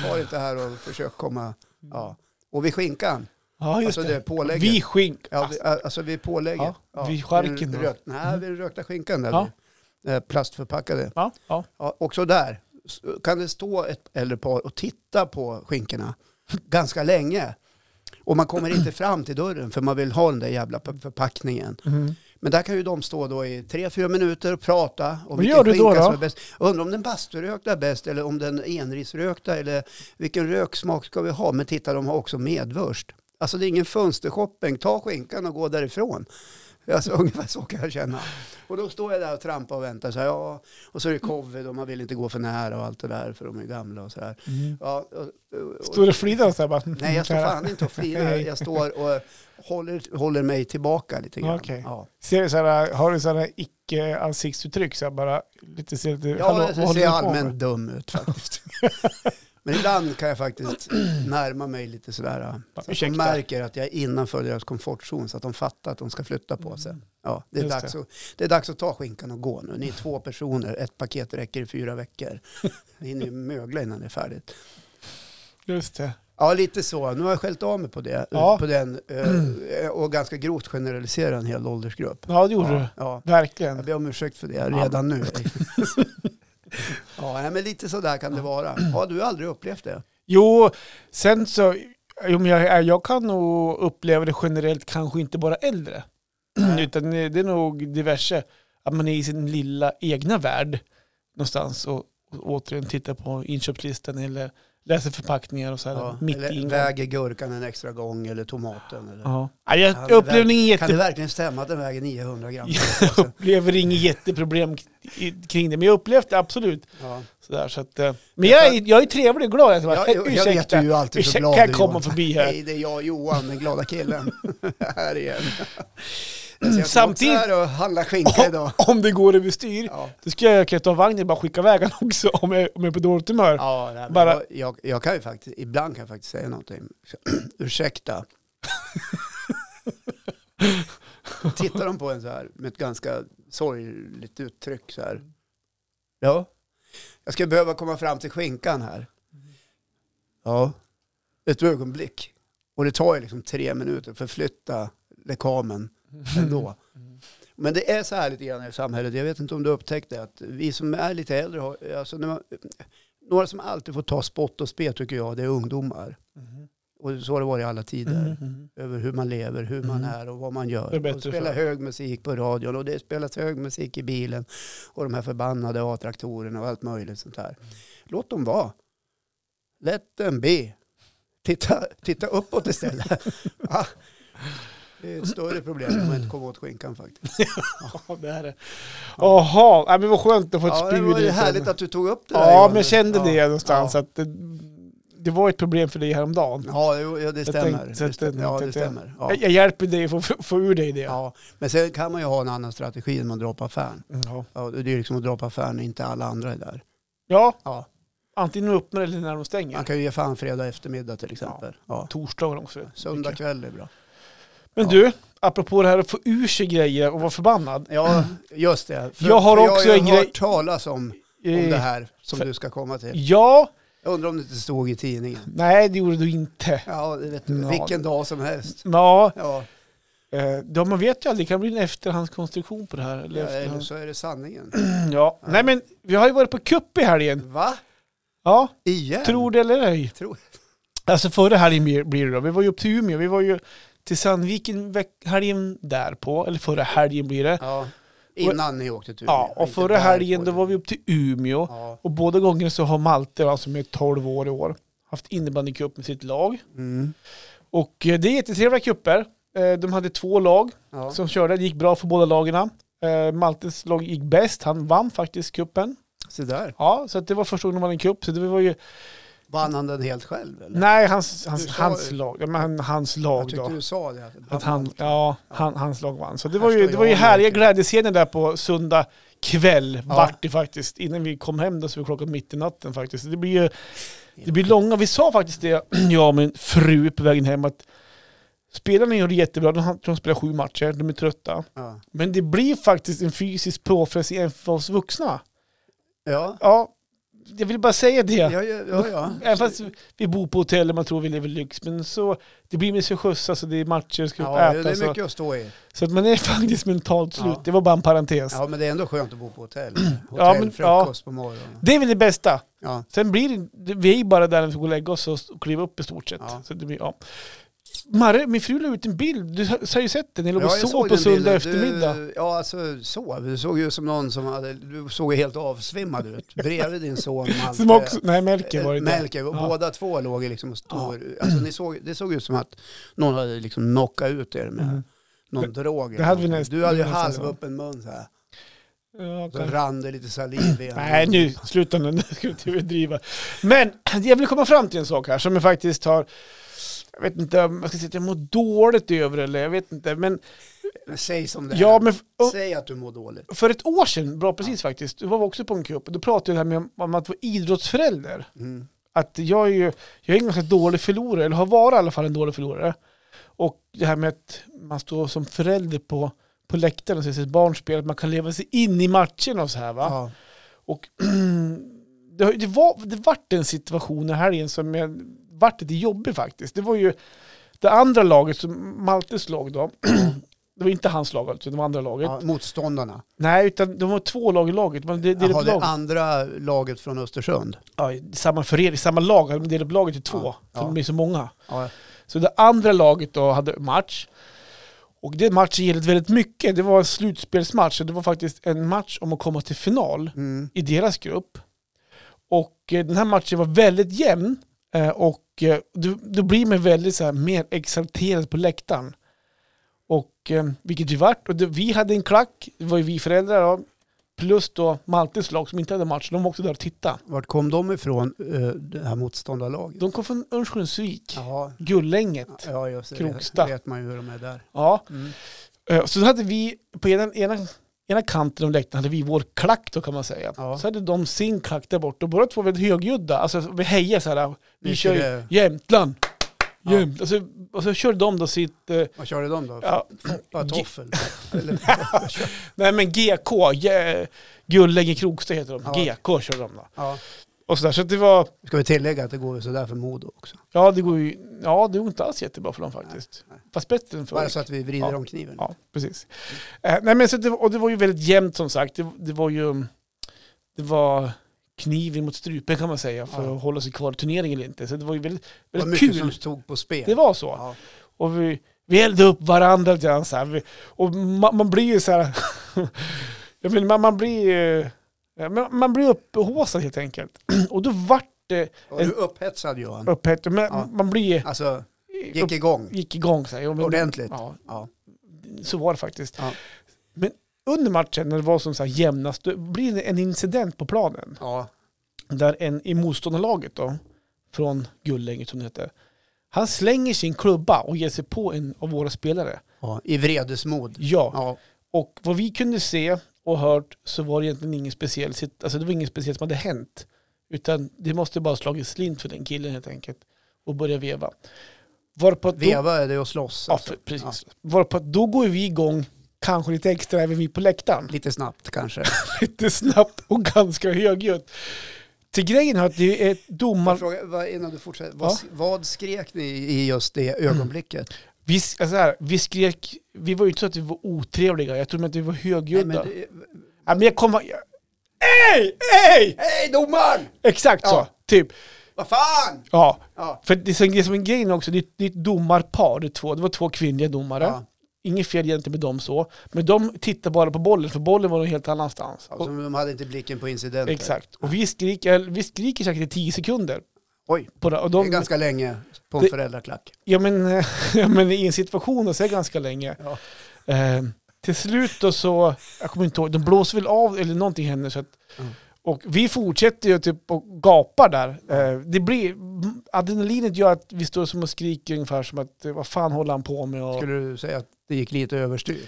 Var inte här och försök komma. Ja. Och vid skinkan. Ja, just Alltså det är det. pålägget. Vi skink. Ja, vi, alltså vid pålägget. Ja, vid charken vid då. den rök- Nej, vid den rökta skinkan där. Ja. vid, eh, Plastförpackade. Ja, ja. Ja, också där s- kan det stå ett eller par och titta på skinkorna ganska länge. Och man kommer inte fram till dörren för man vill ha den där jävla p- förpackningen. Mm. Men där kan ju de stå då i tre, fyra minuter och prata om Vad gör du då, skinka då? som är bäst. Undrar om den basturökta är bäst eller om den enrisrökta eller vilken röksmak ska vi ha? Men titta, de har också medvurst. Alltså det är ingen fönstershopping, ta skinkan och gå därifrån. Alltså ungefär så kan jag känna. Och då står jag där och trampar och väntar. Så här, ja. Och så är det covid och man vill inte gå för nära och allt det där för de är gamla och så här. Ja, och, och, Står du och flinar och så här bara? Mm. Nej, jag står Kära. fan inte och flinar. Jag står och håller, håller mig tillbaka lite grann. Okej. Ja, Ser du så här, har du sådana icke-ansiktsuttryck? Så här bara lite, ser lite, ja hallå, vad jag håller ser du på med? allmänt dum ut faktiskt. Men ibland kan jag faktiskt närma mig lite sådär. Ja, Så att de ursäkta. märker att jag är innanför deras komfortzon så att de fattar att de ska flytta på sig. Ja, det, är Mm. Just dags att, det är dags att ta skinkan och gå nu. Ni är två personer, ett paket räcker i fyra veckor. Ni hinner ju mögla innan det är färdigt. Just det. Ja, lite så. Nu har jag skällt av mig på, det, Ja. på den eh, och ganska grovt generalisera en hel åldersgrupp. Ja, det gjorde ja, ja. du. Verkligen. Jag ber om ursäkt för det redan nu. ja, nej, men lite sådär kan det vara. Ja, du har aldrig upplevt det. Jo, sen så, jo, men jag, eh, jag kan nog uppleva det generellt, kanske inte bara äldre, Nej. utan det är nog diverse, att man är i sin lilla egna värld någonstans och, och återigen tittar på inköpslistan eller läser förpackningar och så här, Ja, mitt i eller ingången. väger gurkan en extra gång eller tomaten. Eller. Ja. Ja, jag Kan det upplever inget Kan det jätte, verkligen stämma att den väger 900 gram? jag upplever inget jätteproblem k- i- kring det, men jag upplevde det absolut. Ja. Sådär. Sådär, så att, eh, men jag, är- jag är trevlig och glad. Jag, bara, Jag, jag, jag vet du ursäkta, är ju alltid så ursäkta, glad. kan jag Johan. komma förbi här? Hej, det är jag Johan, den glada killen. här igen. Jag ska Samtidigt- gå här och handla skinka idag. Om det går överstyr. Ja. Då ska jag kunna ta vagnen och bara skicka iväg honom också om jag, om jag är på dåligt humör. Ja, nej, men Bara- jag, jag, jag kan ju faktiskt, ibland kan jag faktiskt säga någonting. Ursäkta. Tittar de på en så här med ett ganska sorgligt uttryck så här. Ja, jag ska behöva komma fram till skinkan här. Ja, ett ögonblick. Och det tar ju liksom tre minuter för att flytta lekamen ändå. Men det är så här lite grann i samhället. Jag vet inte om du upptäckte att vi som är lite äldre, har, alltså när man, några som alltid får ta spott och spe tycker jag, det är ungdomar. Mhm. Och så har det varit i alla tider. Mhm, mhm. Över hur man lever, hur man Mhm. är och vad man Det är gör. bättre Och spelar så. hög musik på radion och det spelas hög musik i bilen. Och de här förbannade A-traktorerna och allt möjligt sånt här. Låt dem vara. Let them be. Titta, titta uppåt istället. ah, det är ett större problem om man inte kommer åt skinkan faktiskt. Ja, det är det. Jaha, nej, men vad skönt att få ett Ja, spyr det var ju lite. härligt att du tog upp det där. Ja, Johan. men jag kände ja. det någonstans. Ja, Att det, det var ett problem för dig häromdagen. ja, jo, ja det stämmer. tänkte- så det stämmer. Ja, tänkte det jag- stämmer. Ja. Jag, jag hjälper dig att få, få ur dig det. Ja. Men sen kan man ju ha en annan strategi än att dra på affären. Ja. Mm, Ja, det är ju liksom att dra på affären när inte alla andra är där. Ja, Ja. antingen de öppnar eller när de stänger. Man kan ju ge fan fredag eftermiddag till exempel. Ja. Torsdagar också. Söndag kväll är bra. Men Ja. du, apropå det här att få ur sig grejer och vara förbannad. Ja, just det. Jag har också jag en har grej- Eh, hört talas om, om det här som för- du ska komma till. Eh, Ja, Jag undrar om det inte stod i tidningen. nej det gjorde du inte. Ja, det vet du. Ja. Vilken dag som helst. Ja, Ja, Eh, Ja, man vet ju aldrig. Det kan bli en efterhandskonstruktion på det här. Eller ja, eller efterhands... så är det sanningen. ja. Nej, men vi har ju varit på kupp i helgen. Va? Ja, Igen? tror det eller ej. Tror- Alltså förra helgen blir blir det då. Vi var ju upp till Umeå. Vi var ju till Sandviken veck- helgen därpå. Eller förra helgen blir det. Ja, innan ni åkte till Umeå. Ja, och Inte förra där helgen på då det. var vi upp till Umeå. Ja. Och båda gångerna så har Malte, alltså, som är 12 år i år, haft innebandycup med sitt lag. Mm. Och eh, det är jättetrevliga cuper. Eh, De hade två lag. Ja. som körde. Det gick bra för båda lagarna. Eh, Maltes lag gick bäst. Han vann faktiskt kuppen. Så där. Ja, så att det var första gången han vann en cup. Så det var ju... Vann han den helt själv eller? Nej, hans, hans, Du sa- hans lag. Ja, men han- hans Jag lag tyckte då. du sa det. Att han, ja, han, hans lag vann. Så det Här var ju, står det var ju jag härliga verkligen. glädjescener där på söndag kväll. Ja. Vart det faktiskt. Innan vi kom hem då så var klockan mitt i natten faktiskt. Så det blir ju det blir långa. Vi sa faktiskt det, jag och min fru på vägen hem, att spelarna gör det jättebra. De, har- de spelar sju matcher, de är trötta. Ja. Men det blir faktiskt en fysisk påfrestning även för oss vuxna. ja. Ja, jag vill bara säga det. Ja, ja, ja. ja. Även fast vi bor på hotell och man tror vi lever lyx. Men så, det blir med sig skjuts, alltså det är matcher, ska Ja, äta. det är så, mycket att stå i. så att man är faktiskt mentalt slut. Ja. Det var bara en parentes. Ja, men det är ändå skönt att bo på hotell. Ja, men- Hotell, frukost på morgonen. Det är väl det bästa. Ja. Sen blir det, det- vi är ju bara där när vi ska gå och lägga oss och kliva upp i stort sett. Ja. Så det blir, ja. Marre, min fru la ut en bild. Du har har ju sett den. Ni låg och Ja, jag sov såg på den söndag bilden. eftermiddag. Du, ja, alltså sov. Du såg ju som någon som hade, du såg ju helt avsvimmad ut. Bredvid din son Malte. Som också, nej, Melker var det Eh, där. Melker, och Ja. båda två låg ju liksom och stod, alltså ni såg, det såg ut som att någon hade liksom knockat ut er med Mm. någon drog. eller det hade vi någonting. nästan- du hade ju nästan så. halvöppen mun så här. Ja, Så kanske. rann det lite saliv i Äh, Nej, nu, sluta nu, nu ska vi inte överdriva. Men jag vill komma fram till en sak här som jag faktiskt har, jag vet inte om jag ska säga att jag mår dåligt över eller jag vet inte, men Men Säg som det är. ja, men f- Säg att du mår dåligt. för ett år sedan, bra precis faktiskt, då var vi också på en cup, och då pratade jag det här med om att vara idrottsförälder. Mm. Att jag är ju, jag är en ganska dålig förlorare, eller har varit i alla fall en dålig förlorare. Och det här med att man står som förälder på, på läktaren och ser sitt barn spela, att man kan leva sig in i matchen och så här va. Ja. Och det, har- det, var, det vart en situation i helgen som jag, vart lite jobbig faktiskt. Det var ju det andra laget, som Maltes lag då, det var inte hans lag alltså, det var andra laget. Ja, motståndarna. Nej, utan de var två lag i laget. Man delade Jaha, upp det laget. andra laget från Östersund. Ja, i samma förening, samma lag, man delade upp laget i två. Ja, För ja. de är så många. Ja. Så det andra laget då hade match. Och den matchen gällde väldigt mycket. Det var en slutspelsmatch. och Det var faktiskt en match om att komma till final. Mm. i deras grupp. Och eh, den här matchen var väldigt jämn eh, och eh, då, då blir man väldigt så här, mer exalterad på läktaren. Och, eh, vilket vi vart. Och det, vi hade en klack, det var ju vi föräldrar då, plus då Maltes lag som inte hade match, de var också där och tittade. Vart kom de ifrån, eh, det här motståndarlaget? De kom från Örnsköldsvik, Jaha. Gullänget. Ja, just det. Krokstad. Det vet man ju hur de är där. Ja. Mm. Eh, Så då hade vi på ena, ena, ena kanten av läktaren hade vi vår klack då kan man säga. Ja. Så hade de sin klack där borta och båda två var väldigt högljudda. Alltså vi hejar så här, vi Mycket kör ju det. Jämtland. Ja. Jämt. Och, så, och så körde de då sitt, eh, Vad körde de då? ja, Bara Ge- toffel? Eller, nej men GK, Ge- Gullänge Krokstad heter de, Ja. GK körde de då. ja. Och så, där. så att det var, Ska vi tillägga att det går ju sådär för Modo också? ja det går ju, ja det går inte alls jättebra för dem faktiskt. Nej, Fast bättre än förr. Bara så att vi vrider Ja. om kniven. Ja, precis. Eh, nej, men så det, och det var ju väldigt jämnt som sagt. Det, det var ju mm, det var kniven mot strupen kan man säga för Ja. att hålla sig kvar i turneringen eller inte. Så det var ju väldigt, det var väldigt mycket kul. som stod på spel. Det var så. Ja. Och vi, vi eldade upp varandra lite grann så här. Vi, och man, man blir ju så här... jag menar, man, man blir ju... ja, men Man blir upphaussad helt enkelt. Och då vart det Och du upphetsad Johan. upphetsad. Men Ja. man blir... Alltså, Upp, gick igång gick igång så här. Ja, men- ordentligt. Ja. Ja, så var det faktiskt. Ja. Men under matchen när det var som så här jämnast, då blir det en incident på planen. Ja. Där en i motståndarlaget då, från Gullänget som det heter, han slänger sin klubba och ger sig på en av våra spelare. Ja. I vredesmod. Ja, Ja. och vad vi kunde se och hört så var det egentligen ingen speciell, sit- alltså det var inget speciellt som hade hänt. Utan det måste bara ha slagit slint för den killen helt enkelt och börja veva. Varpå att då- Veva är det att slåss. Ja, Alltså. för, precis. Varpå att då går vi igång, kanske lite extra även vi på läktaren. Lite snabbt kanske. lite snabbt och ganska högljutt. Till grejen är att det är ett domar... Jag frågar, vad, innan du fortsätter, vad, Ja. vad skrek ni i just det ögonblicket? Vi, alltså här, vi skrek, vi var ju inte så att vi var otrevliga, jag tror inte vi var högljudda. men Nej, men, det- jag kommer... Jag... Ey! Ey! Hej domaren! Exakt så, Ja. typ. Vad fan! Ja. Ja. För det som, det som är grejen också, det, är- det är ett domarpar, det, är två, det var två kvinnliga domare. Ja. Inget fel egentligen med dem så, men de tittar bara på bollen, för bollen var någon helt annanstans. Alltså, de hade inte blicken på incidenten. Exakt. Och vi skriker, vi skriker säkert i tio sekunder. Oj, På det. Och det är de, ganska länge på en Det- föräldraklack. ja, men, ja, men i en situation så är det ganska länge. Ja. Eh, till slut då så, jag kommer inte ihåg, de blåser väl av eller någonting händer. Så att, Mm. Och vi fortsätter ju typ och gapar där. Eh, det blir, m- adrenalinet gör att vi står som och skriker ungefär som att eh, vad fan håller han på med? Och, Skulle du säga att det gick lite överstyr?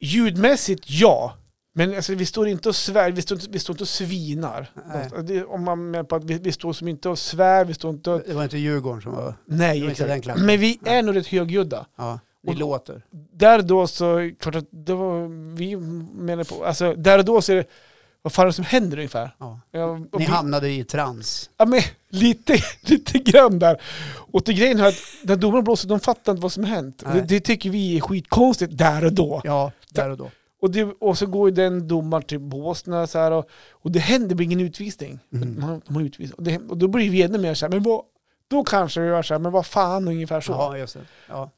Ljudmässigt ja. Men alltså, vi står inte och svär, vi står inte, vi står inte och svinar. Alltså, Nej. Det, om man menar på att vi, vi står som inte och svär, vi står inte och Det var inte Djurgården som var... Nej, Det var inte exakt. den klacken. Men vi är nog rätt högljudda. Ja, ni Och- låter. Där då så, klart att det var, vi menar på, alltså där och då så är det vad fan är det som händer ungefär? Ja. Jag, och Ni bli- hamnade i trans. Ja, men, lite, lite grann där. Och till grejen är att när domarna blåser, de fattar inte vad som hänt. Nej. Det, det tycker vi är skitkonstigt där och då. Ja, där och då. Och, det, och så går ju den domaren till Båstad så här och, och det händer blir ingen utvisning. Mm. Man, de har utvisat. Och, det, och då blir vi ännu mer så här, men vad, då kanske vi gör så här, men vad fan ungefär så. Ja, just det. Ja.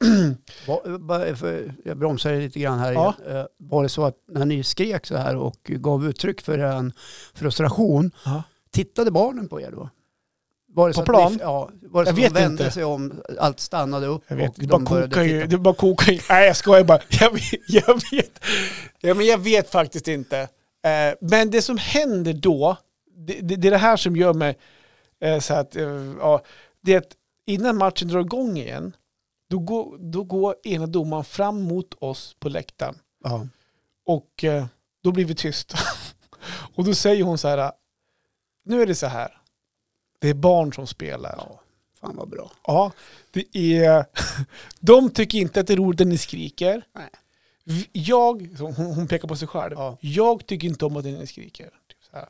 Va- va- för- Jag bromsar lite grann här. Ja. igen. Eh, Var det så att när ni skrek så här och gav uttryck för en frustration, Ja. tittade barnen på er då? Var det På så Att plan? ni, ja, var det Jag så att vet de vände inte. sig om, allt stannade upp Jag vet, och det de bara började kokar ju. titta? Det bara kokar ju. Nej jag skojar bara. Jag vet. Jag vet, ja, men jag vet faktiskt inte. Eh, men det som händer då, det, det, det är det här som gör mig eh, så att, eh, ja, det är att innan matchen drar igång igen, då går, då går ena domaren fram mot oss på läktaren. Ja. Och eh, då blir vi tysta. och då säger hon så här, nu är det så här, det är barn som spelar. ja, fan vad bra. Ja, det är... De tycker inte att det är roligt när ni skriker. Nej. V- Jag, hon, hon pekar på sig själv, Ja. jag tycker inte om att ni skriker. Typ så här.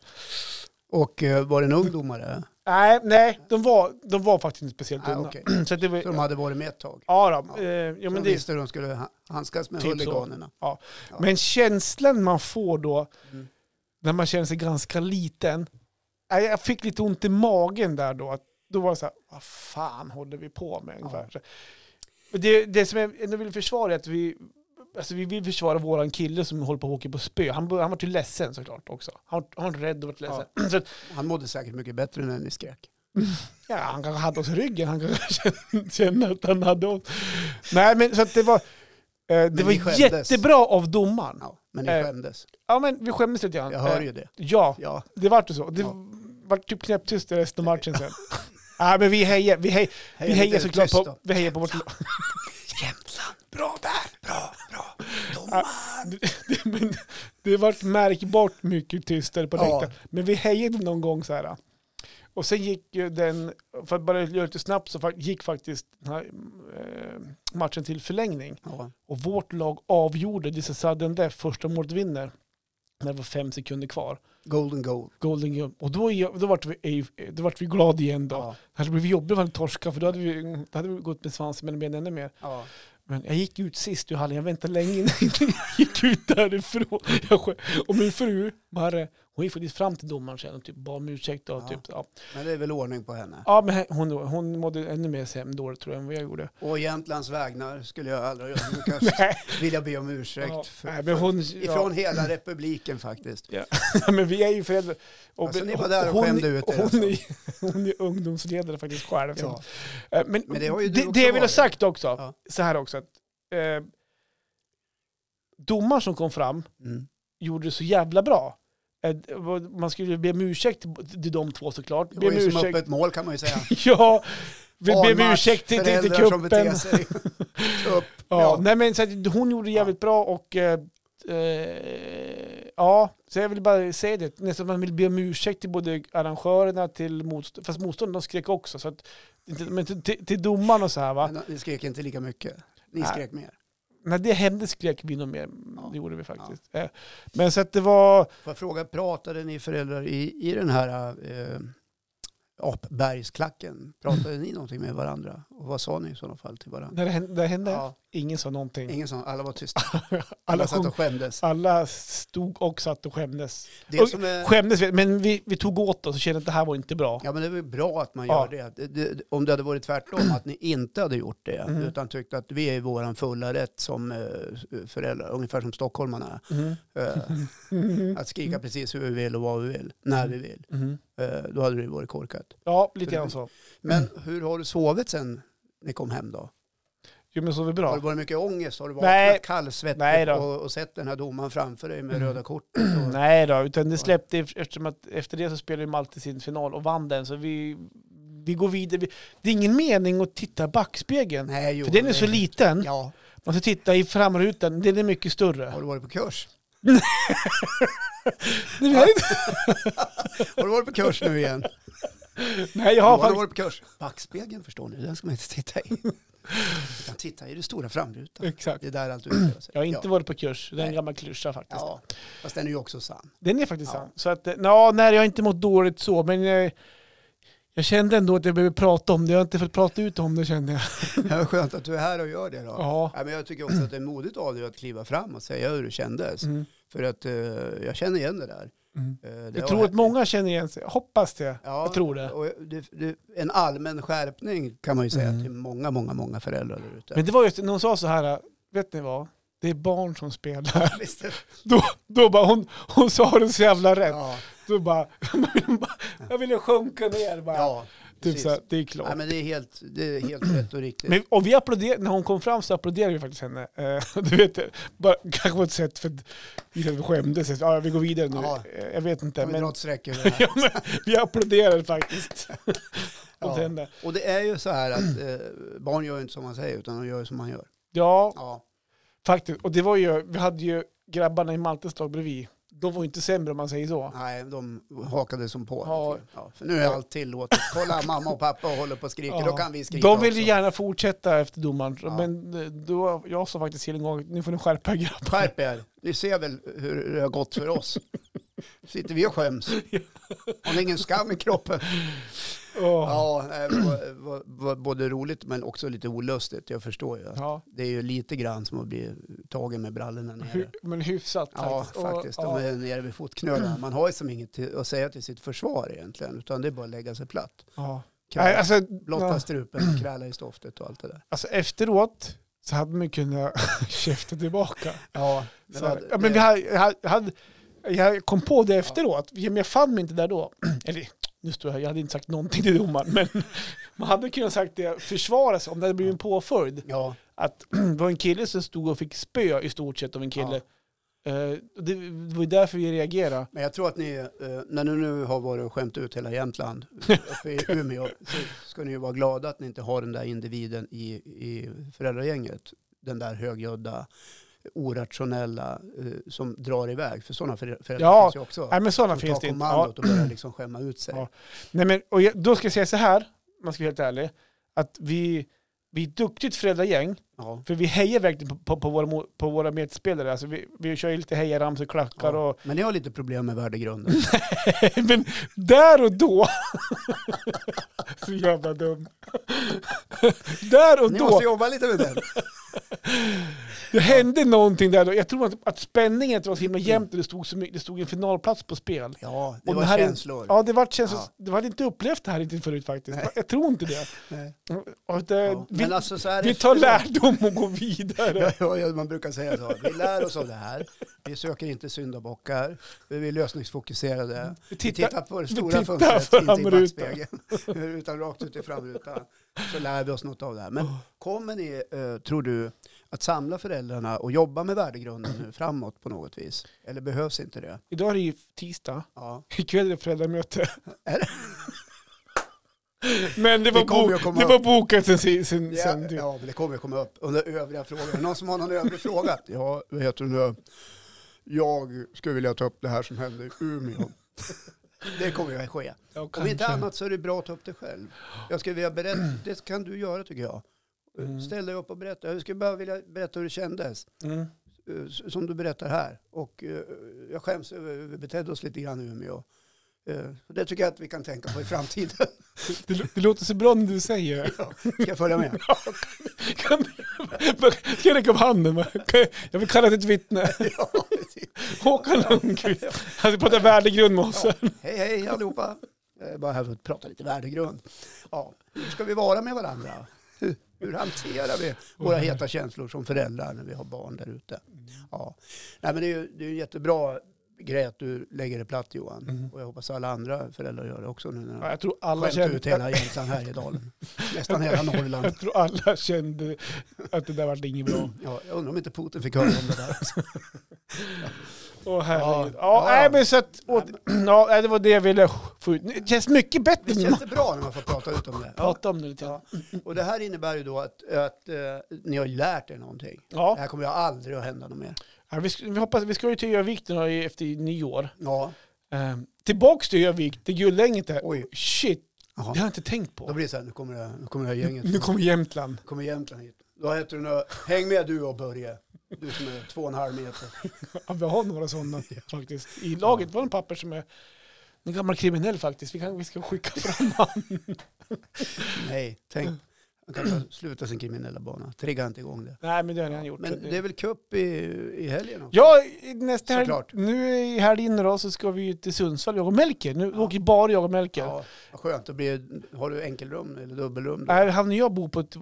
Och eh, var det en ung domare? Nej, nej, de var, de var faktiskt inte speciellt Nej, dumma. okej. Så att det var, Så de hade varit med ett tag? ja, då, Ja. eh, ja, men, de det, visste hur de skulle ha- handskas med Typ så. huliganerna. ja. men känslan man får då, Mm. när man känner sig ganska liten, nej, jag fick lite ont i magen där då. Att, då var det så här, vad fan håller vi på med? ungefär. Så- Men Det, det som jag ändå vill försvara är att vi, alltså vi vill försvara våran kille som håller på att åka på spö. Han, han var till ledsen såklart också. Han, var- han var rädd och varit ledsen. Så att, Han mådde säkert mycket bättre när ni skrek. ja, han kanske hade oss i ryggen. Han kanske kände att han hade oss. Nej, men så att det var, eh, det ni var skämdes. jättebra av domaren. Ja, men ni Eh, skämdes. Ja, men vi skämdes lite grann. Jag hör Eh, ju det. Ja, Ja, det vart ju så. Det Ja. var typ knäpptyst i resten av matchen sen. Nej, men vi hejar, vi hejar, vi Heja hejar lite såklart tyst på, då. vi hejar på vårt lag. Jämtland. Bra där. Bra, bra. Domaren. Det- men Det vart märkbart mycket tystare på Ja. läktaren. Men vi hejade någon gång så här. Och sen gick ju den, för att bara göra det snabbt, så fa- gick faktiskt den här, eh, matchen till förlängning. Ja. Och vårt lag avgjorde, this is sudden death, första målet vinner. När det var fem sekunder kvar. Golden goal. Golden Game. Och då, är- då, vart vi, då vart vi glada igen då. Ja. Det hade blivit jobbigt om vi torska för då hade vi, då hade vi gått med svansen mellan benen ännu mer. Ja. Men jag gick ut sist ur hallen, jag väntade länge innan jag gick ut därifrån. Jag, sjö- och min fru, Marre, hon gick faktiskt fram till domaren sen och typ bad om ursäkt. Och Ja. Typ, ja. Men det är väl ordning på henne. ja, men hon, hon mådde ännu mer sämre då tror jag än vad jag gjorde. Å Jämtlands vägnar skulle jag aldrig ödmjukast Nej, vilja be om ursäkt. ja, För, nej, men hon... Ifrån hela republiken faktiskt. Ja, men vi är ju föräldrar. Och, Alltså, ni var där och hon- skämde ut er, hon, alltså. är, hon är ungdomsledare faktiskt själv. så. Ja. Eh, Men, Men det har ju du det, också det jag vill ha varit. sagt också, Ja. så här också, att eh, domaren som kom fram Mm. gjorde det så jävla bra. Eh, det var- Man skulle be om ursäkt till- till de två såklart. Det Be var om ju som ursäkt. öppet mål kan man ju säga. Ja, vi ber om Vanmakt, ursäkt till, till, till föräldrar som beter cupen. sig. Upp. Ja, Ja. Nej, men, så att hon gjorde det jävligt bra och eh, eh, ja, så jag vill bara säga det. Nästan man vill be om ursäkt till både arrangörerna till motstånd, fast motståndarna de skrek också. Så att, men till, till, till domaren och så här va. Men ni skrek inte lika mycket. Ni Nej. skrek mer. När det hände skrek vi nog mer. Det gjorde vi faktiskt. Eh, Men så att det var... Får jag fråga, pratade ni föräldrar i, i den här eh, Apbergsklacken? Pratade ni någonting med varandra? Och vad sa ni i sådana fall till varandra? När det hände, det hände Ja, ingen sa någonting. ingen sån, alla var tysta. Alla, Alla satt sjung, och skämdes. alla stod och satt och skämdes. Det Och- som är, Skämdes, vi- men vi, vi tog åt oss och kände att det här var inte bra. ja, men det är väl bra att man Ja. gör det. Det, det. Om det hade varit tvärtom, att ni inte hade gjort det, Mm. utan tyckt att vi är i våran fulla rätt som eh, föräldrar, ungefär som stockholmarna, Mhm. eh, Mhm. att skrika precis hur vi vill och vad vi vill, när vi vill, Mhm. eh, då hade det varit korkat. Ja, lite grann så. Men Mm. hur har du sovit sen ni kom hem då? Jo, men så var det Har det bra. varit mycket ångest? Har du Nej. vaknat Nej kallsvettig då. och, och sett den här domaren framför dig med Mm. röda kortet? Och, Nej då, utan det släppte eft- eftersom att efter det så spelade ju Malte sin final och vann den. Så vi, vi går vidare. Vi- Det är ingen mening att titta i backspegeln. Nej, jo, för den är det- så liten. Ja, Man ska titta i framrutan, den är mycket större. har du varit på kurs? Nej, men- Har du varit på kurs nu igen? Nej, jag Ja, har har du faktiskt... varit på kurs? Backspegeln förstår ni, den ska man inte titta i. Du kan titta i det stora framrutan. Exakt. Det är där allt utspelar sig. Jag har inte ja. varit på kurs. Det är en Nej. gammal klyscha faktiskt. ja, fast den är ju också sann. Den är faktiskt Ja. sann. Så att, eh, ja, nej, jag har inte mått dåligt så, men jag, jag kände ändå att jag behöver prata om det. Jag har inte fått prata ut om det kände jag. Ja, skönt att du är här och gör det då. Ja. Ja, men jag tycker också att det är modigt av dig att kliva fram och säga hur det kändes. Mm. För att eh, jag känner igen det där. Mm. Eh, det Jag har tror hänt- att många känner igen sig. Jag Hoppas det. Ja, Jag tror det. Och det, det. En allmän skärpning kan man ju säga Mm. till många, många, många föräldrar där ute. Men det var just, någon sa så här, vet ni vad? Det är barn som spelar. Visst är det- Då, då bara, hon, hon sa det så jävla rätt. ja, Då bara, jag ville sjunka ner bara. ja, typ precis. så här, det är Nej, klart. men det är helt, det är helt rätt och riktigt. Men, och vi applåderade, när hon kom fram så applåderade vi faktiskt henne. Eh, du vet, bara, kanske på ett sätt för att vi så att vi skämdes. Ja, vi går vidare nu. Ja. Eh, Jag vet inte. Kan vi dra Men, ett streck över det här? ja, men, vi applåderade faktiskt. Ja. Åt henne. Och det är ju så här att eh, barn gör ju inte som man säger utan de gör ju som man gör. Ja, Ja, faktiskt. Och det var ju, vi hade ju grabbarna i Maltes lag bredvid. De var ju inte sämre om man säger så. nej, de hakade som på. Ja. Ja, för nu är allt tillåtet. Kolla, mamma och pappa håller på och skriker, Ja. då kan vi skrika De ville ju också. gärna fortsätta efter domaren. Ja. Men eh, då, jag sa faktiskt till en gång, nu får ni skärpa er grabbar. Skärp er, ni ser väl hur det har gått för oss. Sitter vi och skäms. Har ni ingen skam i kroppen? Åh. Ja, nej, det var, var, var både roligt men också lite olustigt. Jag förstår ju. att Ja. Det är ju lite grann som att bli tagen med brallorna Hy- nere. Men hyfsat Ja, Och- faktiskt. ja. De är nere vid fotknölarna. Man har ju som inget till, att säga till sitt försvar egentligen, utan det är bara att lägga sig platt. Ja. Kräla, Nej, alltså, blotta ja, strupen och kräla i stoftet och allt det där. alltså efteråt så hade man ju kunnat käfta tillbaka. Ja, men, Men, så, vad- ja, men vi det- hade, jag hade- jag hade, jag kom på det efteråt, men jag fann mig inte där då. Eller nu står jag här, jag hade inte sagt någonting till domaren, men man hade kunnat sagt det, försvara sig om det hade blivit en påföljd. ja, Att det var en kille som stod och fick spö i stort sett av en kille. Eh, och det var ju därför vi reagerade. men jag tror att ni, eh, när ni nu har varit och skämt ut hela Jämtland uppe i Umeå, så ska ni ju vara glada att ni inte har den där individen i, i föräldragänget. Den där högljudda, orationella eh, som drar iväg. För sådana förä- föräldrar Ja, finns ju också. Nej men sådana som finns tar det inte. Ja. kommandot och börjar liksom skämma ut sig. Ja. Nej, men, och jag, då ska jag säga så här, om man ska vara helt ärlig, att vi, vi är ett duktigt föräldragäng, Ja. för vi hejar verkligen på, på, på, våra, mo- på våra medspelare. Alltså, vi, vi kör ju lite hejaramsor och klackar Ja. och... Men ni har lite problem med värdegrunden. men där och då... så jävla dum. där och Ni då, måste jobba lite med den. det hände någonting där då. Jag tror att, att spänningen inte var så himla jämnt och det stod, så mycket, det stod en finalplats på spel. Ja, det Och var det här är- känslor. Ja, det var känslor. Ja. Det var inte upplevt det här riktigt förut faktiskt. Nej. Jag tror inte det. Nej. Och det Eh, Ja. Eh, vi, Men alltså så här Vi tar efteråt- lärdom och går vidare. Ja, ja, ja, man brukar säga så. Vi lär oss av det här. Vi söker inte syndabockar. Vi är lösningsfokuserade. Mm. Vi Vi tittar, tittar på det vi stora tittar fönstret, inte i framrutan. backspegeln. Utan rakt ut i framrutan. Så lär vi oss något av det här. Men kommer ni, eh, tror du, att samla föräldrarna och jobba med värdegrunden nu framåt på något vis? Eller behövs inte det? Idag är det ju tisdag. Ja. Ikväll är det föräldramöte. Är det? Men det var, Det kommer bo- ju komma det upp. var bokat sen, sen, sen, Ja, sen typ. du. ja, men det kommer att komma upp under övriga frågor. Någon som har någon övrig fråga? Ja, vad heter du nu? Jag skulle vilja ta upp det här som hände i Umeå. Det kommer att ske. Ja, Om inte kanske. annat så är det bra att ta upp det själv. Jag skulle vilja berätta, det kan du göra tycker jag. Mm. Ställ dig upp och berätta. Jag skulle bara vilja berätta hur det kändes, Mm. eh, s- som du berättar här. Och eh, jag skäms över hur vi betedde oss lite grann i Umeå. Eh, Det tycker jag att vi kan tänka på i framtiden. Det, lå- det låter så bra när du säger det. Ska jag följa med? Kan, ska jag räcka upp handen? Kan jag- Jag vill kalla till ett vittne. Ja, precis. Håkan Lundqvist. Han ska prata värdegrund med oss. Hej, hej allihopa. Jag är bara här för att prata lite värdegrund. Ja, hur ska vi vara med varandra? Hur- Hur hanterar vi våra heta känslor som föräldrar när vi har barn där ute? Ja. Nej, men det är ju det är en jättebra grej att du lägger det platt Johan. Mm. Och jag hoppas alla andra föräldrar gör det också nu när Ja, de Jag tror alla skämt ut kände, hela Jämtland Härjedalen. Nästan hela Norrland. jag tror alla kände att det där vart inget bra. Ja, jag undrar om inte Putin fick höra om det där. Åh herregud. Ja. Ja, Ja, nej ja. men så att, åt, ja, nej, det var det jag ville få ut. Det känns mycket bättre Visst nu. känns det bra när man får prata ut om det? Ja. Prata om det lite grann. Och det här innebär ju då att, att eh, ni har lärt er någonting. Ja. Det här kommer ju aldrig att hända något mer. Ja, vi, ska, vi, hoppas, vi ska ju till Övik nu då i- efter nyår. Ja, Ehm, tillbaks till Övik, till Gullänget där. Oj. Shit, Jaha. Det har jag inte tänkt på. Då blir det så här, nu kommer det, nu kommer det här gänget. Nu kommer Jämtland. Nu kommer Jämtland hit. Då heter det nog, häng med du och Börje. Du som är två och en halv meter. Ja, vi har några sådana faktiskt. I laget var det en papper som är en gammal kriminell faktiskt. Vi, kan, vi ska skicka fram honom. Nej, tänk. Han kan bara sluta sin kriminella bana. Trigga inte igång det. Nej, men det har han gjort. Men det är väl cup i, i helgen också? Ja, i- nästa helg, Såklart. nu i helgen då så ska vi ju till Sundsvall, jag och Melker. Nu åker bara jag och Melker. Ja, vad skönt. Då blir, har du enkelrum eller dubbelrum? Då? Nej, han och jag bor på ett...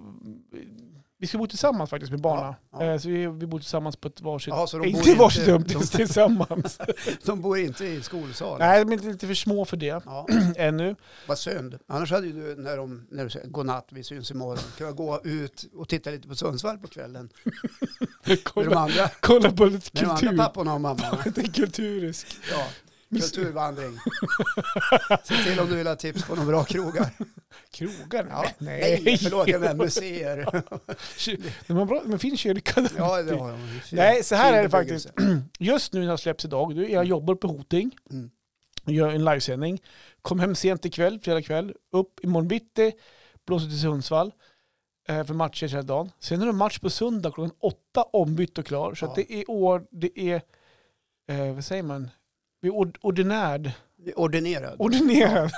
Vi ska bo tillsammans faktiskt med barnen. Ja, ja. Eh, Så vi, vi bor tillsammans på ett varsitt... Jaha, så de bor inte inte- varsitt rum, de- tillsammans. De bor inte i skolsalen? Nej, de är lite för små för det Ja, ännu. vad synd. Annars hade ju du, när, de, när du säger godnatt, vi syns imorgon, kunnat gå ut och titta lite på Sundsvall på kvällen. Med de Kolla, andra, kolla på lite med de andra kultur. papporna och mamman. Lite kulturisk. Ja, kulturvandring. Se till om du vill ha tips på några bra krogar. Krogar? Ja. Nej. Nej, förlåt, jag menar museer. De har bra, men fin kyrka där. Ja, det har de. Nej, så här Fin är det faktiskt. bebyggelse. Just nu när jag släpps idag, då- jag jobbar på Hoting. Mm. och Gör en livesändning. Kom hem sent ikväll, fredag kväll. Upp imorgon bitti. Blåser till Sundsvall. eh, För matcher hela dagen. Sen är det match på söndag klockan åtta ombytt och klar. Så Ja. att det är år, det är, eh, vad säger man? Vi är ord, ordinärd. Ordinerad. Ordinerad.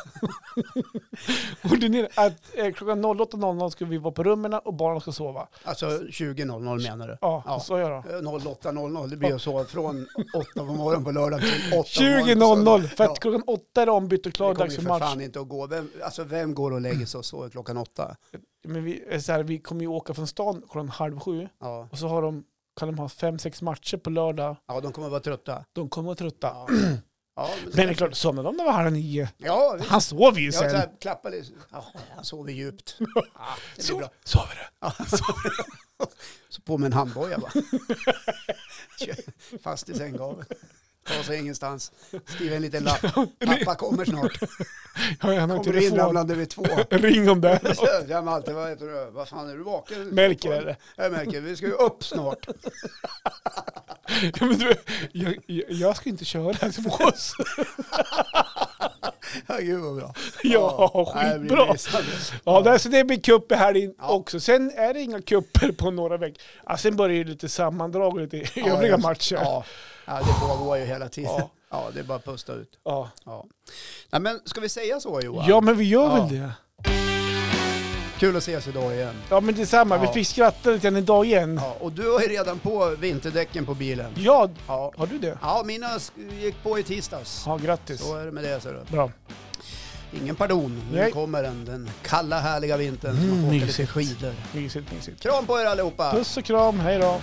Ordinerad. Att eh, klockan 08.00 ska vi vara på rummen och barnen ska sova. Alltså 20.00 menar du? Ja, Ja. så gör jag. då. Eh, 08.00, det blir ju så från 8 på morgonen på lördag till 8 på morgonen på 20.00, för att Ja. klockan åtta är det ombytt och Det klar, kommer dags ju för för match. fan inte att gå. Vem, alltså vem går och lägger sig och sover klockan åtta? Men vi, är så här, vi kommer ju åka från stan klockan halv sju Ja, och så har de, kan de ha fem, sex matcher på lördag. ja de kommer vara trötta. De kommer vara trötta. Ja. Ja, Men det är klart, somnar de när det var halv nio? Ja, visst. Han sover ju jag så sen. här, klappar lite. Ja, han sover djupt. Ja, det blir So- bra. sover du? Så på med en handboja va. Kör Fast i sänggaveln. Ta sig ingenstans. Skriv en liten lapp. Pappa kommer snart. Ja, han har Kommer du telefon. inramlande vid två. Ring om det. Ja, Malte, vad heter du? Vad fan, är du vaken? Melker är det. Jag märker, vi ska ju upp snart. Ja, men du, jag, jag, jag ska inte köra till oss. Ja, gud vad bra. Ja, nej, det blir skitbra. lysande. Ja, där, så det blir cup i helgen Ja. också. Sen är det inga kupper på några veckor. Ja, sen börjar ju lite sammandrag och lite övriga ja. matcher. Ja, ja det pågår ju hela tiden. Ja. Ja. det är bara att pusta ut. Ja. Ja. Nej, men ska vi säga så Johan? ja, men vi gör Ja. väl det. Kul att ses idag igen. Ja, men detsamma. Vi Ja. fick skratta lite grann idag igen. Ja. Ja, och du har ju redan på vinterdäcken på bilen. Ja, har du det? ja mina sk- gick på i tisdags. Ja, grattis. Så är det med det. ser du. Bra. Ingen pardon. Nu Nej. kommer den, den kalla härliga vintern. Mm, Mm, man får åka lite mysigt. skidor. Mysigt, mysigt. Kram på er allihopa! Puss och kram. Hej då.